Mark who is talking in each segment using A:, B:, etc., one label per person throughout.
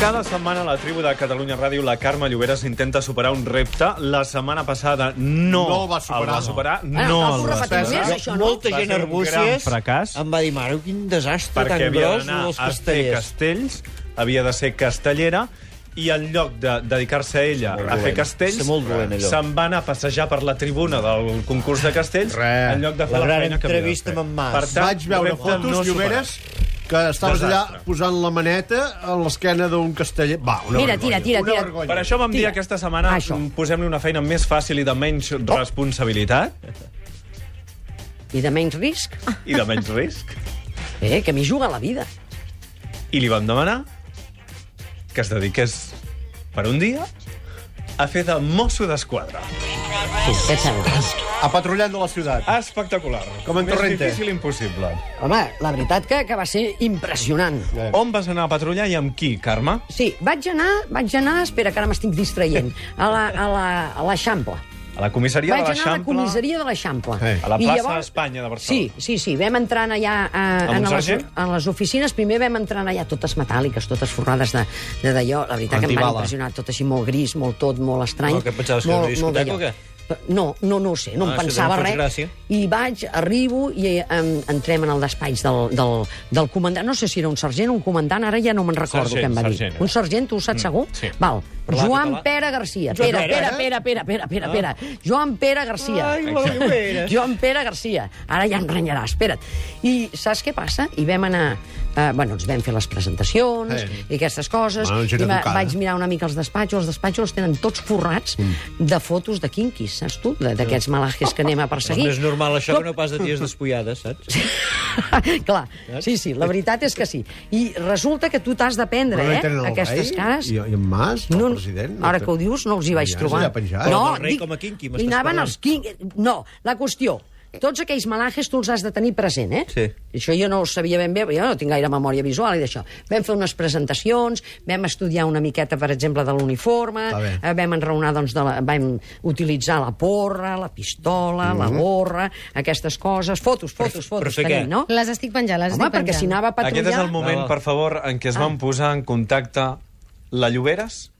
A: Cada setmana a la tribu de Catalunya Ràdio la Carme Lloberes intenta superar un repte. La setmana passada no,
B: No el va superar,
A: el va
B: no.
A: superar. No, el
C: Ara, cal
A: va
C: Ah, repetir
A: superar.
C: més, això, no?
D: Molta
A: Va
D: gent
A: ser un gran
D: arbúcies
A: fracàs.
D: em va dir, mare, quin desastre
A: perquè
D: tan
A: havia
D: gros
A: d'anar
D: dels
A: a fer
D: castellers.
A: castells, havia de ser castellera, i en lloc de dedicar-se a ella a fer
D: dolent.
A: castells,
D: Ser molt dolent, allò.
A: se'n va anar a passejar per la tribuna del concurs de castells
B: Re.
A: en lloc de fer
D: La
A: la,
D: gran
A: feina que havia de
D: entrevista
A: fer.
D: amb en Mas.
A: Per tant,
B: Vaig veure
A: repte
B: fotos,
A: no
B: no Lloberes, que estaves
A: Desastre.
B: allà posant la maneta a l'esquena d'un casteller. Va, una
C: Mira,
B: vergonya.
C: tira, tira,
B: una
C: tira.
B: Vergonya.
A: Per això vam dir
C: Tira. Ah,
A: aquesta setmana
C: Això.
A: mm, posem-li una feina més fàcil i de menys responsabilitat
C: I de menys risc.
A: i de menys risc.
C: Eh, que m'hi juga la vida.
A: I li vam demanar que es dediqués per un dia a fer de mosso d'esquadra.
C: Què et sembla?
B: A patrullant de la ciutat.
A: Espectacular.
B: Com en
A: Més
B: Torrente.
A: difícil impossible.
C: Home, la veritat que, que va ser impressionant.
B: Eh.
A: On vas anar a patrullar i amb qui, Carme?
C: Sí, vaig anar, vaig anar, espera, que ara m'estic distraient, a la, a la, a l'Eixample.
A: A la comissaria
C: Vaig
A: de
C: anar a la
A: l'Eixample?
C: comissaria de l'Eixample.
B: Eh.
A: A la
C: I
A: plaça d'Espanya de Barcelona.
C: Sí, sí, sí. Vam entrar allà a,
A: Amb un
C: en, les,
A: sergent?
C: en les oficines. Primer vam entrar allà totes metàl·liques, totes forrades de de d'allò. La veritat que em
B: Antibala.
C: van impressionar. Tot així molt gris, molt tot, molt estrany.
E: No, que pensaves que era una discoteca
C: d'allò.
E: o què?
C: No, no, no ho sé, no
E: Ah,
C: em
E: sí,
C: pensava
E: no em fas gràcia.
C: res. I vaig, arribo i em, entrem en el despatx del, del, del comandant. No sé si era un sergent o un comandant, ara ja no me'n recordo
A: Sergent,
C: què em va dir.
A: sergent era.
C: Un sergent, tu ho saps segur?
A: sí.
C: Val.
E: Parlava
C: Joan
E: català?
C: Pere Garcia. Pere, Pere,
B: eh?
C: Pere, Pere, Pere, Pere,
B: Ah.
C: Pere. Joan Pere Garcia. Joan Pere Garcia. Ara ja em renyarà, espera't. I saps què passa? I vam anar... Eh, bueno, ens vam fer les presentacions
B: Eh.
C: i aquestes coses.
B: Bueno, gent
C: I va,
B: educada.
C: vaig mirar una mica els despatxos. Els despatxos els tenen tots forrats
B: Mm.
C: de fotos de quinquis, saps tu? De- D'aquests malajes que anem a
E: Doncs És
C: perseguir.
E: més normal això
C: Tot-
E: que no pas de ties despullades, saps?
C: Clar, sí, sí, la veritat és que sí. I resulta que tu t'has d'aprendre,
B: Però no hi
C: eh,
B: tenen el
C: aquestes
B: rei?
C: cares.
B: I- i en Mas, el president? No
C: ara
B: té-
C: que ho dius, no els hi vaig
B: Ja,
C: trobar.
B: ja penjat.
C: No,
E: Però el rei com a quinqui,
C: I
E: m'estàs
C: anaven
E: parlant.
C: els quinqui... No, la qüestió, tots aquells malajes tu els has de tenir present, eh?
E: Sí.
C: Això jo no ho sabia ben bé, perquè jo no tinc gaire memòria visual i d'això. Vam fer unes presentacions, vam estudiar una miqueta, per exemple, de l'uniforme,
B: Està bé.
C: eh, vam enraonar, doncs, de la, vam utilitzar la porra, la pistola, la
B: Mhm.
C: gorra, aquestes coses, fotos,
E: però
C: fotos, fotos,
E: fer
C: tenir,
E: què?
C: no?
F: Les estic penjant, les
C: Home,
F: estic
C: perquè
F: penjant.
C: si anava a
A: Aquest és
C: patrullar... Ah.
A: el moment,
E: Ah.
A: per favor, en què es van posar en contacte la Lloberes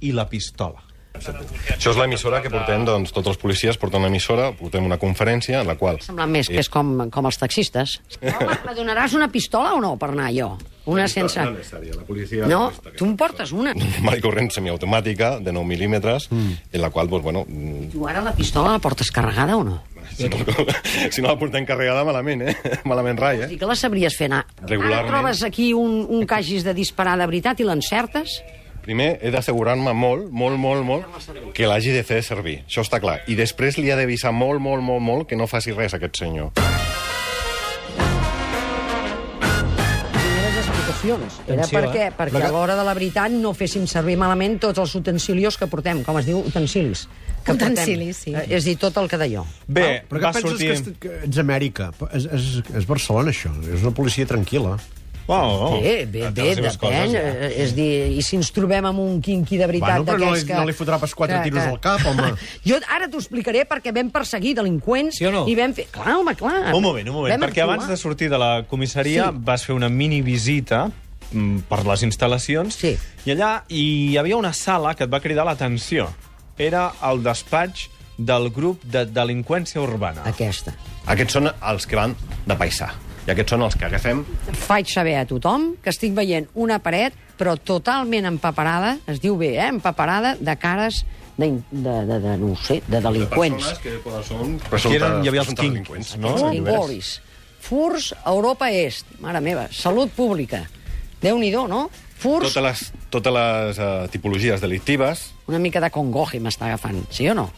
A: i la pistola.
G: Això és l'emissora que portem, doncs, tots els policies porten una emissora, portem una conferència en la qual...
C: Semblant més que és com, com els taxistes. Home, me donaràs una pistola o no per anar jo? Una sense...
G: La policia...
C: No, tu em portes una.
G: Normal i corrent semiautomàtica, de 9 mil·límetres, en la qual, doncs, bueno... mm,
C: Tu ara la pistola la portes carregada o no?
G: Si no, si no la portem carregada, malament, eh? Malament rai,
C: I
G: eh?
C: que la sabries fer anar. Ara
G: Regularment.
C: trobes aquí un, un que hagis de disparar de veritat i l'encertes?
G: Primer, he d'assegurar-me molt, molt, molt, molt, que l'hagi de fer servir. Això està clar. I després li ha d'avisar molt, molt, molt, molt que no faci res, aquest senyor.
C: primeres explicacions. Era
E: Atenció,
C: perquè,
E: eh?
C: perquè a l'hora de la veritat no féssim servir malament tots els utensilios que portem, com es diu, utensilis. Que portem.
F: Utensilis, sí.
C: Eh, És a dir, tot el que d'allò.
A: Bé,
B: Però
A: va
B: què penses
A: sortir...
B: que, est- que ets Amèrica? És, és, és Barcelona, això. És una policia tranquil·la.
A: Oh, oh.
C: Bé, bé,
A: Entre
C: bé,
A: les seves coses.
C: depèn. eh, És dir, i si ens trobem amb un quinqui de veritat
B: Bueno, però no li-
C: d'aquests que...
B: no li fotrà pas quatre tiros al cap, home.
C: jo ara t'ho explicaré perquè vam perseguir delinqüents
E: Sí o no?
C: i vam fer... Clar, home, clar.
A: Un moment, un moment,
C: Ah, Vam
A: perquè
C: actuar.
A: abans de sortir de la comissaria
C: Sí.
A: sí. vas fer una mini visita mm, per les instal·lacions
C: Sí.
A: i allà hi havia una sala que et va cridar l'atenció. Era el despatx del grup de delinqüència urbana.
C: Aquesta.
G: Aquests són els que van de paisà. I aquests són els que agafem
C: Faig saber a tothom que estic veient una paret, però totalment empaparada, es diu bé, eh? empaparada de cares de, de, de, de no ho sé, de delinqüents.
G: que poden són...
A: Aquí
G: Presumptes,
A: eren, hi havia els
G: presumptes
A: quinquis,
G: delinqüents,
A: no?
C: Són
A: Lloberes?
C: bolis. Furs a Europa Est. Mare meva, salut pública. Déu-n'hi-do, no? Furs,
G: Totes les, totes les uh, tipologies delictives...
C: una mica de congoje m'està agafant, sí o no?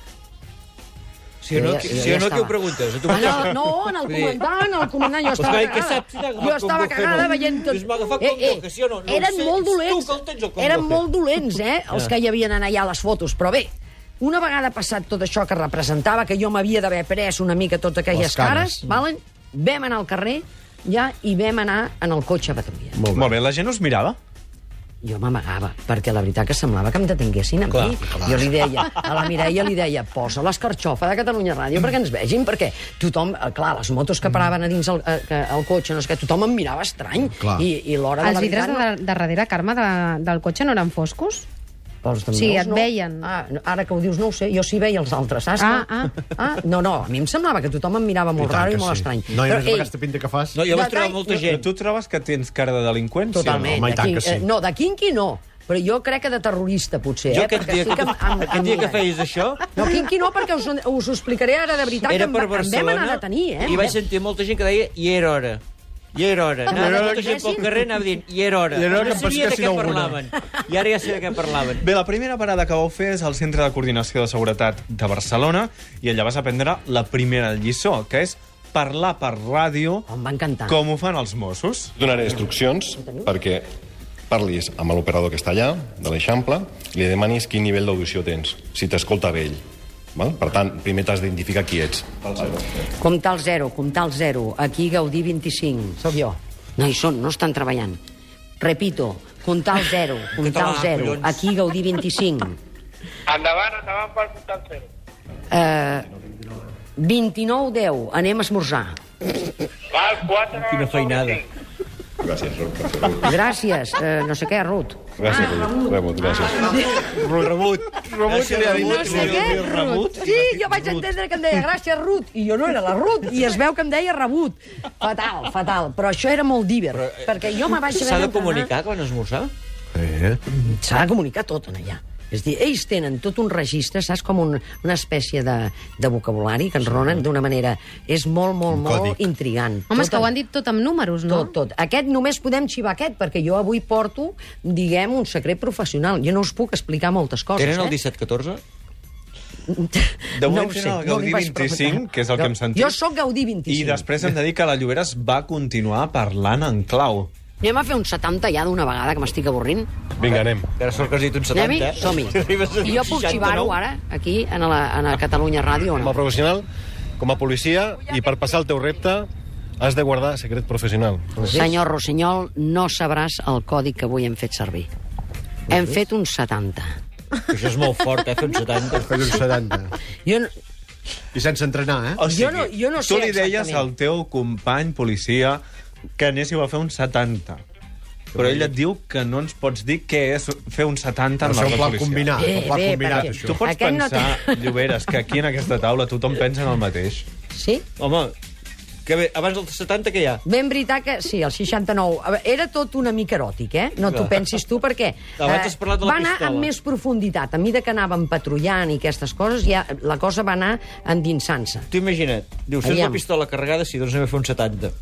E: Si o no,
C: Jo ja-
E: qui-
C: jo ja
E: si o no,
C: estava.
E: qui ho preguntes? A tu
C: Ah, no,
E: mateix?
C: no, en el
E: Vull dir,
C: comandant, en el comandant, jo
E: Pues
C: estava
E: clar, què
C: cagada.
E: saps si t'agafa
C: jo estava
E: congoje o
C: cagada
E: no?
C: veient tot. Eh,
E: Dius, m'agafa congoje, sí o no? No ho
C: eren
E: sé,
C: molt
E: ets tu
C: dolents.
E: que el tens, el congoje.
C: eren molt dolents, eh, els que hi havien anar allà a les fotos, però bé, una vegada passat tot això que representava, que jo m'havia d'haver pres una mica totes aquelles
B: Les cares.
C: cares, valen? vam anar al carrer ja i vam anar en el cotxe a patrulla.
A: Molt bé, la gent us mirava?
C: jo m'amagava, perquè la veritat que semblava que em detinguessin a mi. Jo li deia, a la Mireia li deia, posa l'escarxofa de Catalunya Ràdio perquè ens vegin, perquè tothom, eh, clar, les motos que paraven a dins el, eh, que- el cotxe, no és que tothom em mirava estrany,
B: Clar.
C: i, i l'hora de
F: Els
C: la
F: vidres
C: veritat...
F: de, de darrere, Carme, de, del cotxe no eren foscos?
C: Els de
F: Sí,
C: meus,
F: et veien.
C: Ah, no, ara que ho dius, no ho sé. Jo sí veia els altres, saps?
F: Ah,
C: no? ah. No, no, a mi em semblava que tothom em mirava molt
B: tant
C: raro i
B: que
C: molt
B: sí.
C: estrany.
B: No, i a més amb
C: ell,
B: aquesta pinta que fas...
E: No, jo vaig
C: De
E: trobar
C: tall-
E: molta
A: Però
E: gent.
A: tu trobes que tens cara de delinqüència?
C: Totalment.
B: home, i
C: de
B: tant
C: quin-
B: que sí.
C: eh, no, de quinqui no, però jo crec que de terrorista, potser.
E: Jo
C: eh?
E: aquest
C: perquè
E: dia,
C: estic
E: que,
C: amb- amb-
E: aquest dia que
C: amb-
E: feies això,
C: No, quinqui no, perquè us, us ho explicaré ara de veritat,
E: era
C: que
E: per
C: em, va- em vam
E: Barcelona,
C: anar a tenir, eh?
E: i vaig sentir molta gent que deia i era hora. I era hora. Anava
C: era hora
E: molta
C: que
E: gent pel
C: fessin.
E: carrer, anava dient, i era hora.
B: I era hora
E: no
B: que em
E: sabia de
B: pesquessin
E: què
B: alguna.
E: parlaven. I ara ja sé de què parlaven.
A: Bé, la primera parada que vau fer és al Centre de Coordinació de Seguretat de Barcelona i allà vas aprendre la primera lliçó, que és parlar per ràdio
C: Oh, em va encantar.
A: com ho fan els Mossos.
G: Donaré instruccions perquè parlis amb l'operador que està allà, de l'Eixample, i li demanis quin nivell d'audició tens, si t'escolta bé ell. Val? Per tant, primer t'has d'identificar qui ets.
C: Comptar el zero, comptar el zero. Aquí Gaudí 25, sóc jo. No hi són, no estan treballant. Repito, comptar el zero, comptar el
E: Català,
C: zero.
E: collons.
C: Aquí Gaudí 25.
H: Endavant, endavant per comptar el zero.
C: 29-10, Eh, anem a esmorzar.
H: Val, 4...
E: Quina feinada.
G: Gràcies, Ruth. Gràcies,
C: Gràcies, eh, no sé què, Ruth.
G: Ruth. Rebut, gràcies.
A: Rebut. Rebut.
E: Gràcies, Ramon.
C: No sé què, Ruth. Sí, jo vaig entendre que em deia gràcies, Ruth, i jo no era la Ruth, i es veu que em deia rebut. Fatal, fatal. Però això era molt diver, perquè jo me vaig
E: eh,
C: haver
E: S'ha de
C: d'entrenar-
E: comunicar quan esmorzar?
B: Eh?
C: S'ha de comunicar tot en allà. És a dir, ells tenen tot un registre, saps, com un, una espècie de, de vocabulari que ens ronen d'una manera... És molt, molt,
B: Un
C: molt
B: còdic.
C: intrigant.
F: Home, és
C: Tot
F: que ho
C: el-
F: han dit tot amb números, no?
C: tot, tot. Aquest només podem xivar aquest, perquè jo avui porto, diguem, un secret professional. Jo no us puc explicar moltes coses,
E: Tenen el
C: eh?
E: 17-14?
A: De moment tenen
C: ho sé,
A: el
C: li
A: Gaudí 25,
C: vaig preguntar.
A: que és el
C: Jo-
A: que hem sentit.
C: Jo sóc Gaudí 25.
A: I després em dedica a la Lloberes va continuar parlant en clau.
C: Anem a fer un 70 ja d'una vegada, que m'estic avorrint.
G: Vinga, anem.
E: Que ara sort que has dit un 70.
C: Anem-hi?
E: eh?
C: Som-hi.
E: Si arribes a
C: I jo puc
E: 69.
C: xivar-ho ara, aquí, a la, a la Catalunya Ràdio, o
G: Com a
C: no?
G: professional, com a policia, i per passar el teu repte, has de guardar secret professional.
C: Senyor Rossinyol, no sabràs el codi que avui hem fet servir. Hem fet un 70.
E: Això és molt fort, eh, fer un 70.
B: Fes un 70.
C: Jo no,
B: I sense entrenar, eh?
A: O sigui,
C: no- jo no
A: tu
C: sé
A: li deies
C: exactament.
A: al teu company policia que anéssiu a fer un 70. Però ell et diu que no ens pots dir què és fer un 70
B: Per
A: amb
B: ser
A: la
B: un pla
A: policia.
B: combinat,
C: Bé,
B: un pla
C: bé,
B: combinat,
C: perquè-
A: Tu
B: això.
A: pots
C: Aquest no té-
A: pensar, Lloberes, que aquí en aquesta taula tothom pensa en el mateix.
C: sí?
E: Home, que bé, abans del 70 què hi ha?
C: Ben veritat que... Sí, el 69. A veure, Era tot una mica eròtic, eh? No t'ho pensis tu, perquè...
E: Abans
C: eh,
E: has parlat de la
C: va anar
E: pistola.
C: amb més profunditat. A mida que anàvem patrullant i aquestes coses, ja la cosa va anar endinsant-se.
E: Tu imagina't, dius, tens la
C: Aviam.
E: pistola carregada, sí, doncs anem a fer un 70.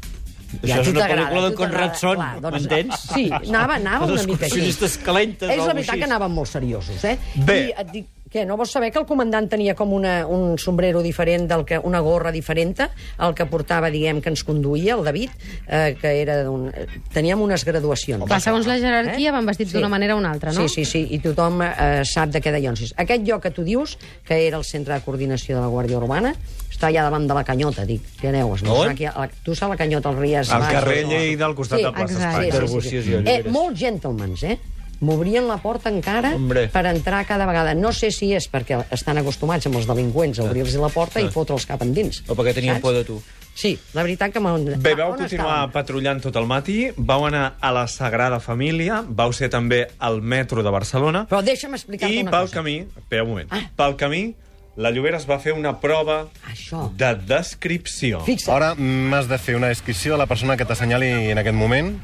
C: Ja,
E: Això
C: a
E: és
C: tu
E: una
C: t'agrada,
E: pel·lícula
C: a
E: d'en
C: tu
E: Conrad
C: t'agrada.
E: Son,
C: Clar, doncs,
E: m'entens?
C: Sí, anava, anava
E: Els
C: una mica així.
E: excursionistes calentes,
C: És la
E: algo
C: veritat
E: així.
C: que anàvem molt seriosos, eh?
A: Bé.
C: I et dic, què, no vols saber que el comandant tenia com una, un sombrero diferent, del que, una gorra diferent, el que portava, diguem, que ens conduïa, el David, eh, que era d'un... eh, Teníem unes graduacions.
F: Clar, segons la jerarquia van vestits d'una manera o una altra, no?
C: eh? Sí, sí, sí, i tothom eh, sap de què deions. Aquest lloc que tu dius, que era el centre de coordinació de la Guàrdia Urbana, està allà davant de la canyota, dic. Què aneu? Es
E: On?
C: aquí, a la, tu saps la canyota, el Ries.
A: Al
C: Mas,
A: carrer
C: no?
A: Lleida, al costat de Plaça
F: exacte.
A: Espanya.
E: sí, sí. Arbúcies i
C: Eh,
E: oliveres.
C: molts gentlemans, eh? M'obrien la porta encara
E: Hombre.
C: per entrar cada vegada. No sé si és perquè estan acostumats amb els delinqüents
A: Ah.
C: a obrir-los la porta i fotre'ls cap endins.
E: O perquè tenien
C: Saps?
E: por de tu.
C: Sí, la veritat que m'han...
A: Bé,
C: Ah,
A: vau
C: on
A: continuar
C: estàvem?
A: patrullant tot el matí, vau anar a la Sagrada Família, vau ser també al metro de Barcelona...
C: Però deixa'm explicar-te
A: I
C: una
A: pel
C: cosa.
A: camí, espera un moment,
C: Ah.
A: pel camí la Llobera es va fer una prova
C: Això.
A: de descripció.
C: Fixa't.
G: Ara m'has de fer una descripció de la persona que t'assenyali en aquest moment,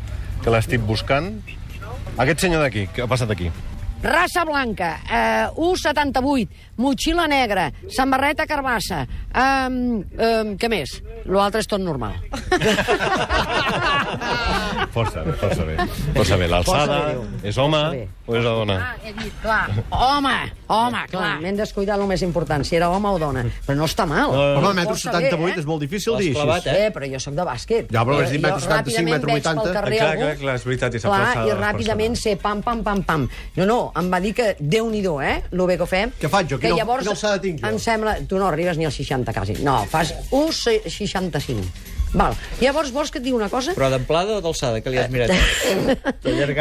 G: que l'estic buscant. Aquest senyor d'aquí, què ha passat aquí?
C: Raça blanca, eh, 1,78, motxilla negra, samarreta carbassa, eh, eh, què més? L'altre és tot normal.
G: Força bé, força bé. Força bé, l'alçada,
C: Força bé.
G: és home
C: Força bé.
G: o és la dona?
C: he dit, clar, home, home, Eh, clar. M'hem descuidat el més important, si era home o dona. Però no està mal.
A: Eh,
B: Però home, metro
C: Força
B: 78
C: bé,
B: és molt difícil
E: L'has
B: dir
E: clavat,
B: així.
E: eh?
C: Eh, però jo sóc de bàsquet. Eh,
B: Ja, però has dit
C: Jo
B: metro 75,
C: ràpidament
B: metro
C: veig pel
B: 80.
C: carrer
A: Ah, Clar,
C: algú-
A: clar, clar, és veritat, i s'aplaça
C: Clar, i
A: les
C: ràpidament ser pam, pam, pam, pam. No, no, em va dir que Déu-n'hi-do, eh, lo bé que ho fem.
B: Què faig jo?
C: Que
B: Quina-
C: llavors,
B: quina alçada tinc jo?
C: Em sembla... Tu no arribes ni als 60, quasi. No, fas 1,65. Val. Llavors, vols que et digui una cosa?
E: Però d'amplada o d'alçada, que li has mirat?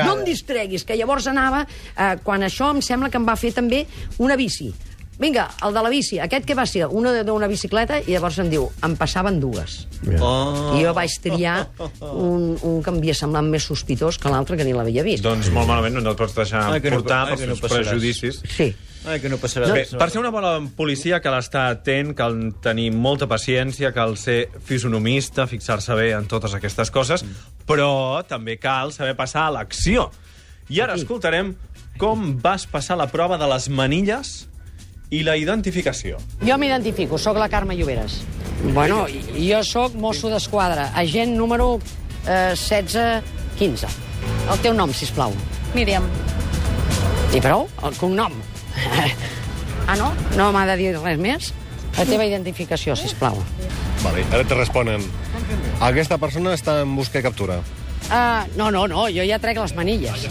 C: No em distreguis, que llavors anava, eh, quan això em sembla que em va fer també una bici. Vinga, el de la bici, aquest que va ser? Una d'una bicicleta i llavors em diu, em passaven dues. Oh. I jo vaig triar un, un que em havia semblat més sospitós que l'altre que ni l'havia vist.
A: Doncs molt malament, no et pots deixar
E: Ai, que no-
A: portar
E: ai,
A: pels
E: que no
A: teus
E: passaràs.
A: prejudicis.
C: Sí.
E: Ai, que no passarà.
A: Bé, per ser una bona policia cal estar atent, cal tenir molta paciència, cal ser fisonomista, fixar-se bé en totes aquestes coses, però també cal saber passar a l'acció. I ara escoltarem com vas passar la prova de les manilles i la identificació.
C: Jo m'identifico, sóc la Carme Lloberes. Bueno, i- jo sóc mosso d'esquadra, agent número eh, 1615. El teu nom, si plau.
I: Míriam,
C: I prou, el cognom. ah, no? No m'ha de dir res més? La teva identificació, si plau.
G: Vale, ara te responen. Aquesta persona està en busca i captura.
C: Uh, no, no, no, jo ja trec les manilles.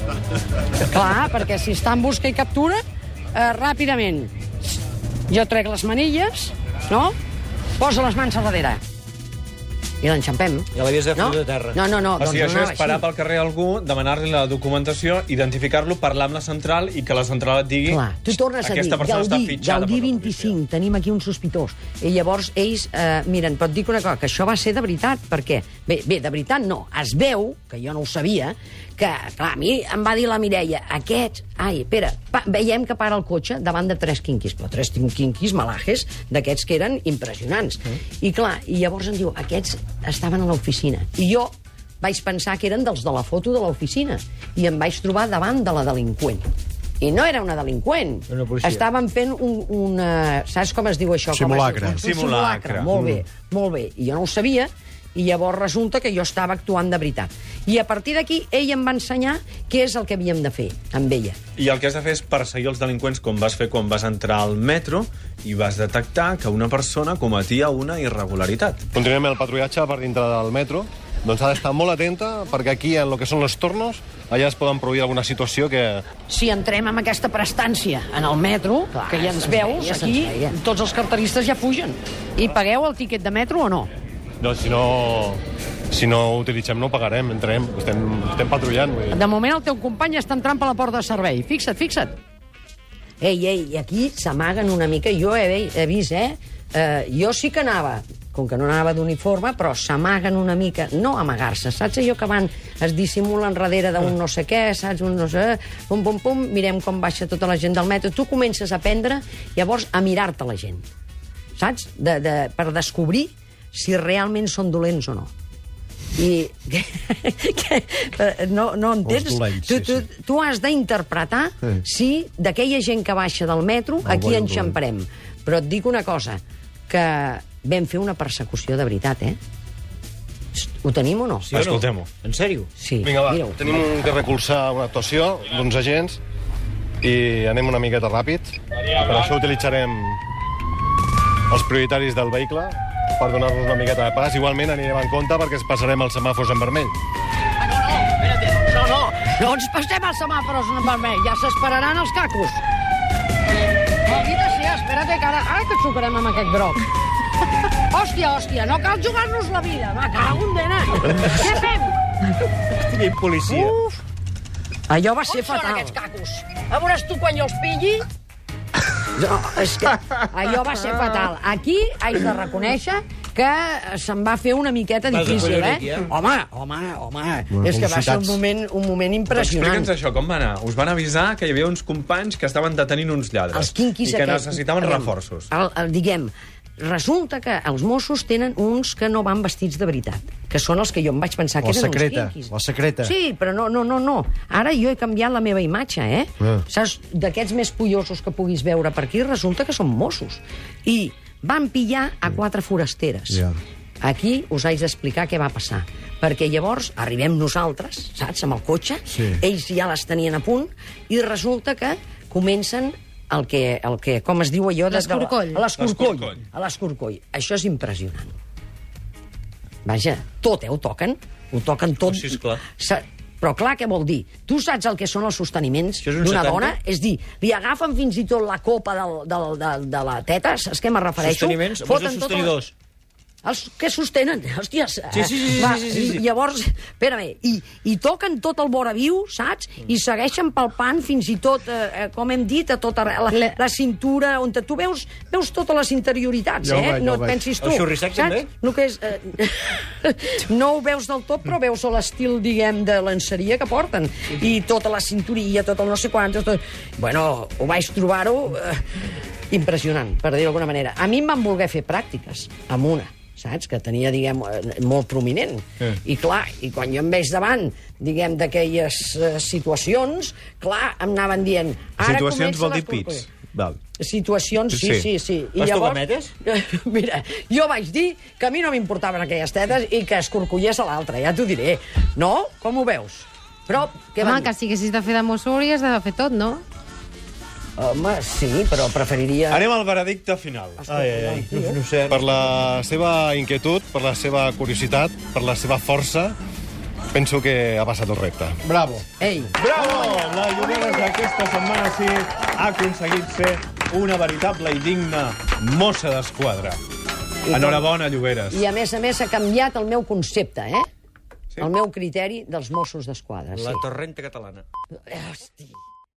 C: Clar, perquè si està en busca i captura, uh, ràpidament. Jo trec les manilles, no? Poso les mans a darrere. I l'enxampem.
E: Ja l'havies de fer
C: no?
E: de terra. Ah,
C: No, no, no.
A: o sigui,
C: doncs
A: això
C: anava
A: és parar
C: així.
A: pel carrer a algú, demanar-li la documentació, identificar-lo, parlar amb la central i que la central et digui
C: Clar, tu tornes a dir,
A: aquesta persona està
C: Gaudí,
A: fitxada
C: Gaudí
A: per la policia".
C: 25, tenim aquí un sospitós. I llavors ells, eh, miren, però et dic una cosa, que això va ser de veritat, perquè, bé, bé, de veritat no, es veu, que jo no ho sabia, que, clar, a mi em va dir la Mireia, aquests, ai, espera, pa, veiem que para el cotxe davant de tres quinquis, però tres quinquis malajes, d'aquests que eren impressionants.
A: Mm.
C: I clar, i llavors em diu, aquests estaven a l'oficina. I jo vaig pensar que eren dels de la foto de l'oficina, i em vaig trobar davant de la delinqüent. I no era una delinqüent.
E: Una policia.
C: Estaven fent un, una... Saps com es diu això?
B: Simulacre.
C: Com es diu? Un
A: Simulacre.
C: simulacre. Molt bé, molt bé. I jo no ho sabia, i llavors resulta que jo estava actuant de veritat. I a partir d'aquí, ell em va ensenyar què és el que havíem de fer amb ella.
A: I el que has de fer és perseguir els delinqüents com vas fer quan vas entrar al metro i vas detectar que una persona cometia una irregularitat.
G: Continuem el patrullatge per dintre del metro. Doncs ha d'estar molt atenta, perquè aquí, en el que són els tornos, allà es poden produir alguna situació que...
C: Si entrem amb aquesta prestància en el metro, Clar, que ja ens veus veia, aquí, tots els carteristes ja fugen. I pagueu el tiquet de metro o no?
G: No, doncs, si no... Si no ho utilitzem, no ho pagarem, entrem. Estem, estem patrullant. Vull dir.
C: De moment el teu company està entrant per la porta de servei. Fixa't, fixa't. Ei, ei, i aquí s'amaguen una mica. Jo he, ve- he vist, eh? eh? Jo sí que anava, com que no anava d'uniforme, però s'amaguen una mica. No amagar-se, saps allò que van, es dissimulen darrere d'un no sé què, saps, un no sé... Pum, pum, pum, mirem com baixa tota la gent del metro. Tu comences a aprendre, llavors, a mirar-te la gent. Saps? De, de, per descobrir si realment són dolents o no. I que, que, eh, no, no entens?
B: dolents,
C: tu,
B: sí,
C: tu, tu has d'interpretar
B: Sí.
C: si d'aquella gent que baixa del metro,
B: El
C: aquí
B: bon
C: en xamparem. Però et dic una cosa, que vam fer una persecució de veritat, eh? Psst, Ho tenim o no?
A: Sí Escoltem-ho.
E: En sèrio?
C: Sí,
G: Vinga, va,
C: mira-ho.
G: tenim que recolzar una actuació d'uns agents i anem una miqueta ràpid. Per això utilitzarem els prioritaris del vehicle per donar-nos una miqueta de pas. Igualment anirem en compte perquè es passarem els semàfors en vermell.
C: No Doncs ens passem els semàfors en vermell, ja s'esperaran els cacos. Maldita sea, espérate, que ara, ara que xocarem amb aquest groc. Hòstia, hòstia, no cal jugar-nos la vida. Va, cago en dena. Què fem?
E: Estigui policia. Uh.
C: Allò va ser On fatal. són aquests cacos? A veuràs tu quan jo els pilli? No, és que allò va ser fatal. Aquí haig de reconèixer que se'n va fer una miqueta
E: Vas
C: difícil,
E: acollonit,
C: eh?
E: ja.
C: Home, home, home. és que va ser un
B: velocitats.
C: moment, un moment impressionant.
A: Explica'ns això, com va anar? Us van avisar que hi havia uns companys que estaven detenint uns lladres.
C: els quinquis
A: I que
C: aquests.
A: necessitaven
C: Aviam,
A: reforços.
C: El, el, diguem, resulta que els Mossos tenen uns que no van vestits de veritat, que són els que jo em vaig pensar que
B: La
C: eren
B: secreta,
C: uns quinquis.
B: la secreta.
C: Sí, però no, no, no, no. Ara jo he canviat la meva imatge, eh?
B: Ah.
C: Saps, d'aquests més pollosos que puguis veure per aquí, resulta que són Mossos. I van pillar a quatre forasteres.
B: Ja.
C: Aquí us haig d'explicar què va passar. Perquè llavors arribem nosaltres, saps, amb el cotxe,
B: Sí.
C: ells ja les tenien a punt, i resulta que comencen el que, el que com es diu allò... de- de la-
F: L'escorcoll.
C: a L'escorcoll.
A: L'escorcoll.
C: A l'escorcoll. Això és impressionant. Vaja, tot, eh, ho toquen. Ho toquen
E: Oh,
C: tot.
E: sí, esclar.
C: Sa- Però clar, què vol dir? Tu saps el que són els sosteniments
E: Això és un
C: d'una
E: 70?
C: dona? És dir, li agafen fins i tot la copa del, del, del, de la teta, saps què me refereixo?
E: Sosteniments? Vols dir
C: tota la-
E: sostenidors?
C: els que sostenen, hòsties... eh,
E: Sí, sí, sí, sí,
C: va,
E: sí, sí, sí.
C: I, llavors, espera bé, i, i toquen tot el vora viu, saps?
E: Mm.
C: I segueixen palpant fins i tot, eh, eh, com hem dit, a tota la, la, la cintura, on te- tu veus, veus totes les interioritats,
B: Ja ho
C: eh?
B: veig, ja
C: no
B: ho
C: et
B: veig.
C: pensis tu.
E: El xurrissac, també?
C: No, que és, eh, no ho veus del tot, però veus l'estil, diguem, de lenceria que porten. I tota la cinturia, tot el no sé quant... Tot... Bueno, ho vaig trobar-ho eh, impressionant, per dir-ho d'alguna manera. A mi em van voler fer pràctiques, amb una saps? que tenia, diguem, eh, molt prominent.
A: Eh.
C: Mm. I clar, i quan jo em veig davant, diguem, d'aquelles eh, situacions, clar, em anaven dient... Ara
A: Situacions
C: comencen
A: vol
C: les
A: dir pits.
C: corcoll-
A: Val.
C: situacions, sí,
A: Sí.
C: sí, sí.
E: Vas tocar
C: Mira, jo vaig dir que a mi no m'importaven aquelles tetes i que es corcollés a l'altre, ja t'ho diré. No? Com ho veus? Però, què
F: Home,
C: van
F: que
C: dir?
F: si haguessis de fer de mosso hauries de fer tot, no?
C: Home, sí, però preferiria...
A: Anem al veredicte final.
E: Ai, ai, ai, no, no sé.
G: Per la seva inquietud, per la seva curiositat, per la seva força, penso que ha passat el repte.
B: Bravo.
C: Ei,
A: Bravo! La Llorera d'aquesta setmana sí ha aconseguit ser una veritable i digna mossa d'esquadra. Enhorabona, Lloberes.
C: i a més a més ha canviat el meu concepte, eh? Sí. El meu criteri dels Mossos d'Esquadra, sí.
E: La torrenta catalana.
C: Hòstia.